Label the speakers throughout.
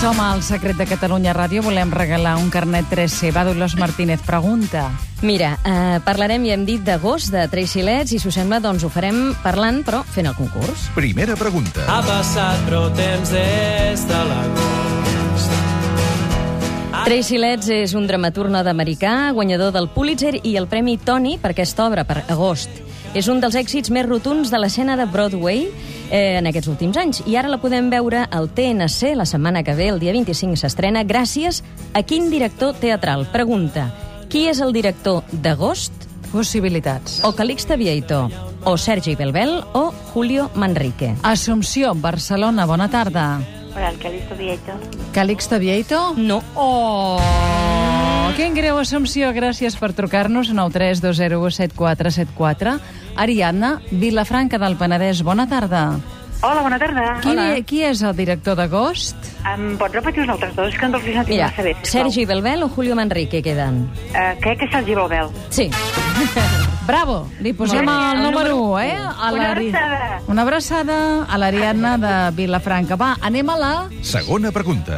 Speaker 1: som al Secret de Catalunya Ràdio. Volem regalar un carnet 3C. Va, Dolors Martínez, pregunta.
Speaker 2: Mira, eh, parlarem, ja hem dit, d'agost de Tracy Letts i, si us sembla, doncs ho farem parlant, però fent el concurs.
Speaker 3: Primera pregunta.
Speaker 4: Ha passat prou temps des de l'agost.
Speaker 2: Tracy Letts és un dramaturg nord-americà, guanyador del Pulitzer i el Premi Tony per aquesta obra, per Agost. És un dels èxits més rotuns de l'escena de Broadway eh, en aquests últims anys. I ara la podem veure al TNC la setmana que ve, el dia 25 s'estrena, gràcies a quin director teatral? Pregunta, qui és el director d'Agost?
Speaker 1: Possibilitats.
Speaker 2: O Calixte Vieito, o Sergi Belbel, o Julio Manrique.
Speaker 1: Assumpció, Barcelona, bona tarda.
Speaker 5: Hola, el Calixto Vieto. Mm.
Speaker 1: Calixto Vieito?
Speaker 2: No.
Speaker 1: Oh, quin greu, Assumpció. Gràcies per trucar-nos. 932017474. Ariadna, Vilafranca del Penedès, bona tarda.
Speaker 5: Hola, bona tarda.
Speaker 1: Qui, qui és el director d'Agost?
Speaker 5: Em pots repetir els altres dos, que no els he sentit
Speaker 2: Mira,
Speaker 5: massa bé. sisplau?
Speaker 2: Sergi Belbel o Julio Manrique queden.
Speaker 5: Eh, crec que és Sergi Balbel.
Speaker 2: Sí.
Speaker 1: Bravo, li posem
Speaker 5: Molt bé.
Speaker 1: el número
Speaker 2: número
Speaker 1: 1, eh? A
Speaker 5: Una
Speaker 1: l'Ari-
Speaker 5: abraçada.
Speaker 1: Una abraçada a l'Ariadna de Vilafranca. Va, anem a la...
Speaker 3: Segona pregunta.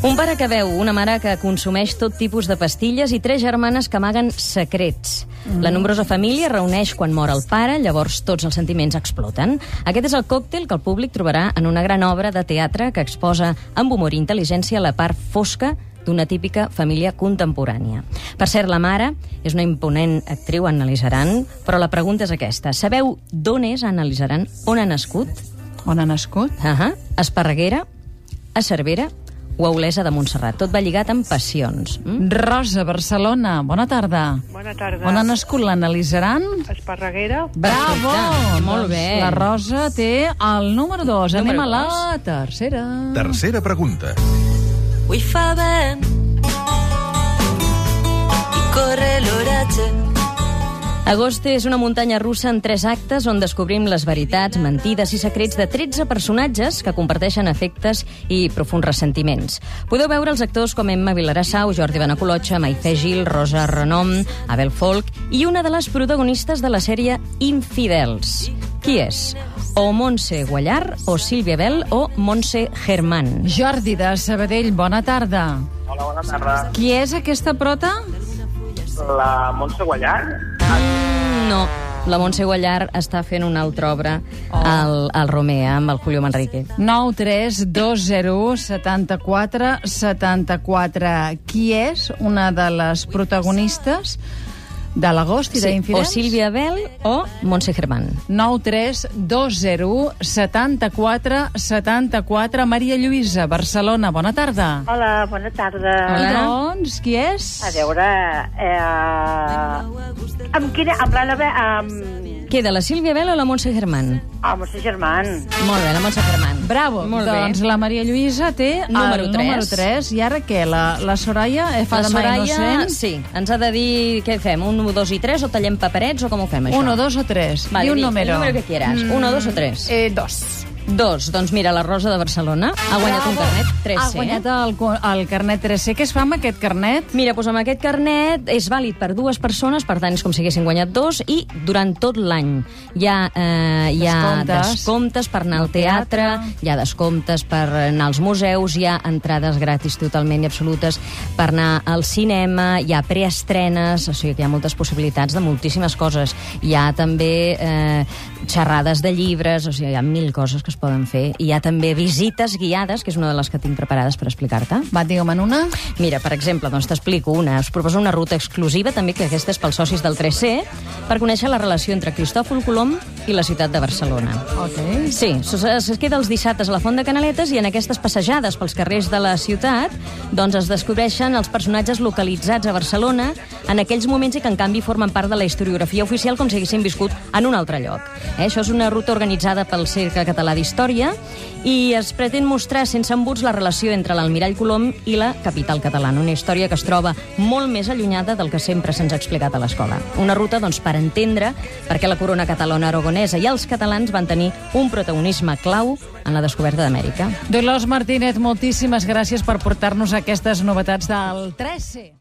Speaker 2: Un pare que veu, una mare que consumeix tot tipus de pastilles i tres germanes que amaguen secrets. La nombrosa família es reuneix quan mor el pare, llavors tots els sentiments exploten. Aquest és el còctel que el públic trobarà en una gran obra de teatre que exposa amb humor i intel·ligència la part fosca d'una típica família contemporània. Per cert, la mare és una imponent actriu, Annalisa Aran, però la pregunta és aquesta. Sabeu d'on és Annalisa Aran? On ha nascut?
Speaker 1: On ha nascut?
Speaker 2: Ahà, a Esparreguera, a Cervera o a Olesa de Montserrat. Tot va lligat amb passions. Mm?
Speaker 1: Rosa, Barcelona, bona tarda.
Speaker 6: Bona tarda.
Speaker 1: On ha nascut l'analitzaran?
Speaker 6: Esparreguera.
Speaker 1: Bravo!
Speaker 2: Perfecte, molt
Speaker 1: Doncs
Speaker 2: bé.
Speaker 1: La Rosa té el número 2. Anem
Speaker 2: Número
Speaker 1: a la
Speaker 2: dos.
Speaker 1: tercera.
Speaker 3: Tercera pregunta.
Speaker 7: Avui fa vent i corre l'oratge.
Speaker 2: Agost és una muntanya russa en tres actes on descobrim les veritats, mentides i secrets de 13 personatges que comparteixen efectes i profuns ressentiments. Podeu veure els actors com Emma Vilarassau, Jordi Benacolotxa, Maifè Gil, Rosa Renom, Abel Folk i una de les protagonistes de la sèrie Infidels. Qui és? O Montse Guallar, o Sílvia Bell, o Montse Germán.
Speaker 1: Jordi de Sabadell, bona tarda.
Speaker 8: Hola, bona tarda.
Speaker 1: Qui és aquesta prota?
Speaker 8: La Montse Guallar?
Speaker 2: No, la Montse Guallar està fent una altra obra
Speaker 1: Oh.
Speaker 2: al, al Romea amb el Julio Manrique.
Speaker 1: 9 3 2 0 1 74 74. Qui és una de les protagonistes de l'agost i
Speaker 2: o
Speaker 1: d'Infidels?
Speaker 2: Sílvia Bell o Montse Germán.
Speaker 1: 9 3 2 0 1 74 74. Maria Lluïsa, Barcelona, bona tarda.
Speaker 5: Hola, bona tarda.
Speaker 1: I doncs, qui és?
Speaker 5: A veure... Eh, amb quina... Amb l'Anna... Be- Amb...
Speaker 2: Queda la Sílvia Bell o la Montse Germán?
Speaker 5: Amb el seu germà.
Speaker 2: Molt bé, la Montse Germán.
Speaker 1: Bravo,
Speaker 2: Molt bé.
Speaker 1: doncs la Maria Lluïsa té
Speaker 2: Número
Speaker 1: el
Speaker 2: tres.
Speaker 1: número 3 i ara què, la, la Soraya eh, fa
Speaker 2: la
Speaker 1: de mà
Speaker 2: Soraya,
Speaker 1: innocent?
Speaker 2: sí, ens ha de dir què fem, un, dos i tres, o tallem paperets, o com ho fem, això?
Speaker 1: 1, 2 o 3?
Speaker 2: Vale,
Speaker 1: I un
Speaker 2: di
Speaker 1: número.
Speaker 2: El número que quieras, mm. un o dos o tres.
Speaker 1: Eh, dos.
Speaker 2: Dos, doncs mira, la Rosa de Barcelona ha guanyat un carnet, eh? 3
Speaker 1: Ha guanyat el, co- el carnet 3C. Què es fa amb aquest carnet?
Speaker 2: Mira, doncs amb aquest carnet és vàlid per dues persones, per tant és com si haguessin guanyat dos, i durant tot l'any hi ha, eh, hi ha
Speaker 1: Descomptes.
Speaker 2: descomptes per anar al
Speaker 1: teatre.
Speaker 2: teatre, hi ha descomptes per anar als museus, hi ha entrades gratis totalment i absolutes per anar al cinema, hi ha preestrenes, o sigui que hi ha moltes possibilitats de moltíssimes coses. Hi ha també eh, xerrades de llibres, o sigui, hi ha mil coses que es poden fer. Hi ha també visites guiades, que és una de les que tinc preparades per explicar-te.
Speaker 1: Va, digue'm en una.
Speaker 2: Mira, per exemple, doncs t'explico una. Us proposo una ruta exclusiva, també, que aquesta és pels socis del 3C, per conèixer la relació entre Cristòfol Colom i la ciutat de Barcelona.
Speaker 1: Ok.
Speaker 2: Sí, s- es es queda els dissabtes a la Font de Canaletes i en aquestes passejades pels carrers de la ciutat doncs es descobreixen els personatges localitzats a Barcelona en aquells moments i que en canvi formen part de la historiografia oficial com si haguessin viscut en un altre lloc. Eh, això és una ruta organitzada pel Cercle Català d'Història i es pretén mostrar sense embuts la relació entre l'almirall Colom i la capital catalana, una història que es troba molt més allunyada del que sempre se'ns ha explicat a l'escola. Una ruta doncs, per entendre per què la corona catalana aragonesa i els catalans van tenir un protagonisme clau en la descoberta d'Amèrica.
Speaker 1: Dolors Martínez, moltíssimes gràcies per portar-nos aquestes novetats del 3C.